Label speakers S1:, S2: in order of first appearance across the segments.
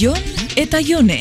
S1: Jon eta Jone.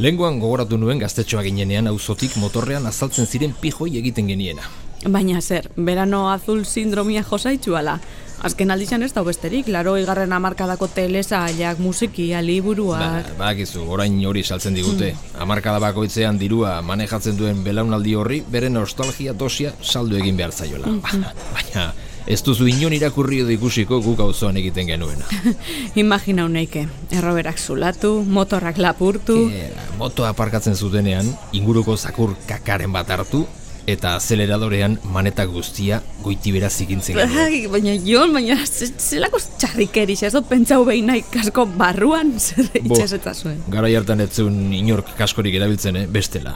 S2: Lenguan gogoratu nuen gaztetxoa ginenean auzotik motorrean azaltzen ziren pijoi egiten geniena.
S3: Baina zer, berano azul sindromia josaitzuala. Azken aldizan ez da besterik, laro igarren amarkadako telesailak, musiki,
S2: Ba,
S3: liburuak...
S2: bakizu, orain hori saltzen digute. Hamarkada bakoitzean dirua manejatzen duen belaunaldi horri bere nostalgia dosia saldu egin behar zaiola. Baina ez duzu inon irakurri edo ikusiko guk auzoan egiten genuena.
S3: Imagina uneike, erroberak zulatu, motorrak lapurtu...
S2: E, motoa aparkatzen zutenean, inguruko zakur kakaren bat hartu, eta azeleradorean maneta guztia goitibera zikintzen genuen.
S3: Ai, baina Jon, baina ze- zelako txarrikeri, ez dut pentsau behin nahi kasko barruan, zer
S2: Bo.
S3: itxez eta zuen.
S2: Garai hartan ez zuen inork kaskorik erabiltzen, eh? bestela.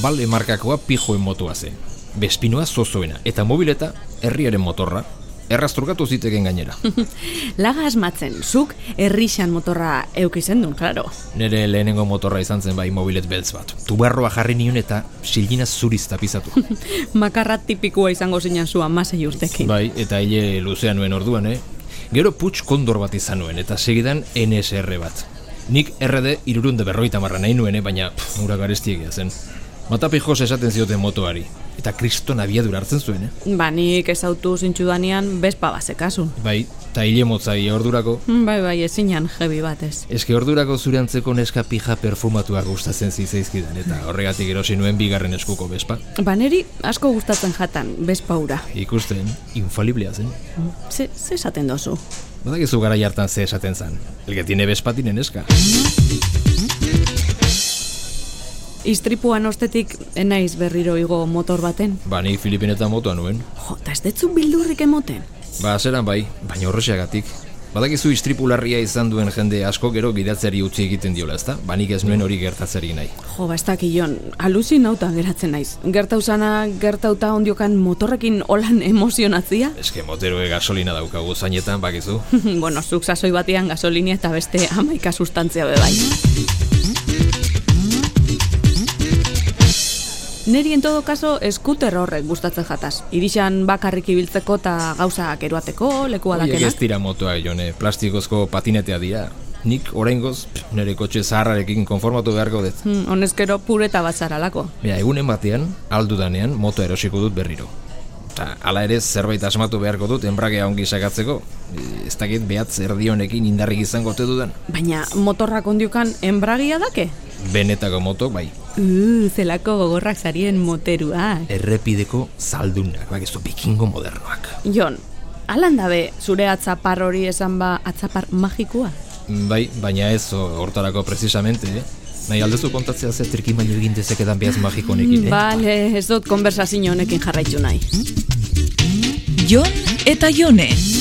S2: Bale markakoa pijoen motoa zen. Bespinoa zozoena, eta mobileta herriaren motorra. Errazturkatu ziteken gainera.
S3: Laga asmatzen, zuk herrixan motorra eukizen duen, klaro.
S2: Nere lehenengo motorra izan zen bai mobilet beltz bat. Tubarroa jarri nion eta silgina zuriz tapizatu.
S3: Makarra tipikua izango zinan zua masei urtekin.
S2: bai, eta hile luzea nuen orduan, eh? Gero putx kondor bat izan nuen, eta segidan NSR bat. Nik RD irurunde berroita marra nahi nuen, eh? baina pff, ura garestiegia zen. Matapi jos esaten zioten motoari, eta kriston abiadura hartzen zuen, eh?
S3: Ba, nik ezautu zintxudanean bespa bazekasun.
S2: Bai, eta hile motzai ordurako,
S3: Mm, Bai, bai, ezinan jebi batez.
S2: Eske ordurako zure antzeko neska pija perfumatua gustatzen zitzaizkidan eta horregatik erosi nuen bigarren eskuko bespa.
S3: Baneri Ba, asko gustatzen jatan, bezpaura.
S2: Ikusten, infaliblea zen.
S3: Ze, ze esaten dozu?
S2: Badakizu gara hartan ze esaten zen. El que tiene bespa tiene neska.
S3: Istripuan ostetik enaiz berriro igo motor baten.
S2: Ba, ni Filipinetan motoa nuen.
S3: Jo, eta ez detzu bildurrik emoten.
S2: Ba, zeran bai, baina horrexeagatik. Badakizu istripularria izan duen jende asko gero gidatzeari utzi egiten diola, ezta? Ba, nik ez nuen hori gertatzeri nahi.
S3: Jo, ba, ez dakillon, aluzinauta geratzen naiz. Gertauzana, gertauta ondiokan motorrekin olan emozionatzia?
S2: Eske moteroe gasolina daukagu zainetan, bakizu.
S3: bueno, zuk sasoi batean gasolina eta beste amaika sustantzia bai. bebai. Neri en todo caso eskuter horrek gustatzen jataz. Irixan bakarrik ibiltzeko eta gauzak eroateko, lekua
S2: Horiek
S3: dakena.
S2: ez dira motoa, jone, plastikozko patinetea dira. Nik oraingoz pff, nire kotxe zaharrarekin konformatu beharko dut.
S3: Hmm, honezkero pureta bat zaralako.
S2: Mira, egunen batean, aldudanean, moto erosiko dut berriro. Ta, ala ere zerbait asmatu beharko dut enbragea ongi sakatzeko. E, Ez dakit behatz erdi honekin indarrik izango ote dudan.
S3: Baina motorrak ondiokan enbragia dake?
S2: Benetako moto, bai,
S3: Uh, zelako gogorrak zarien moteruak.
S2: errepideko zaldunak, bak ez du bikingo modernoak.
S3: Jon, alan dabe zure atzapar hori esan ba atzapar magikoa?
S2: Mm, Bai, baina ez o- hortarako precisamente, eh? Nahi aldezu kontatzea ze trikin baino egin dezakedan behaz magiko honekin, eh?
S3: Bale, ez dut konversazio honekin jarraitu nahi.
S1: Jon eta Jone.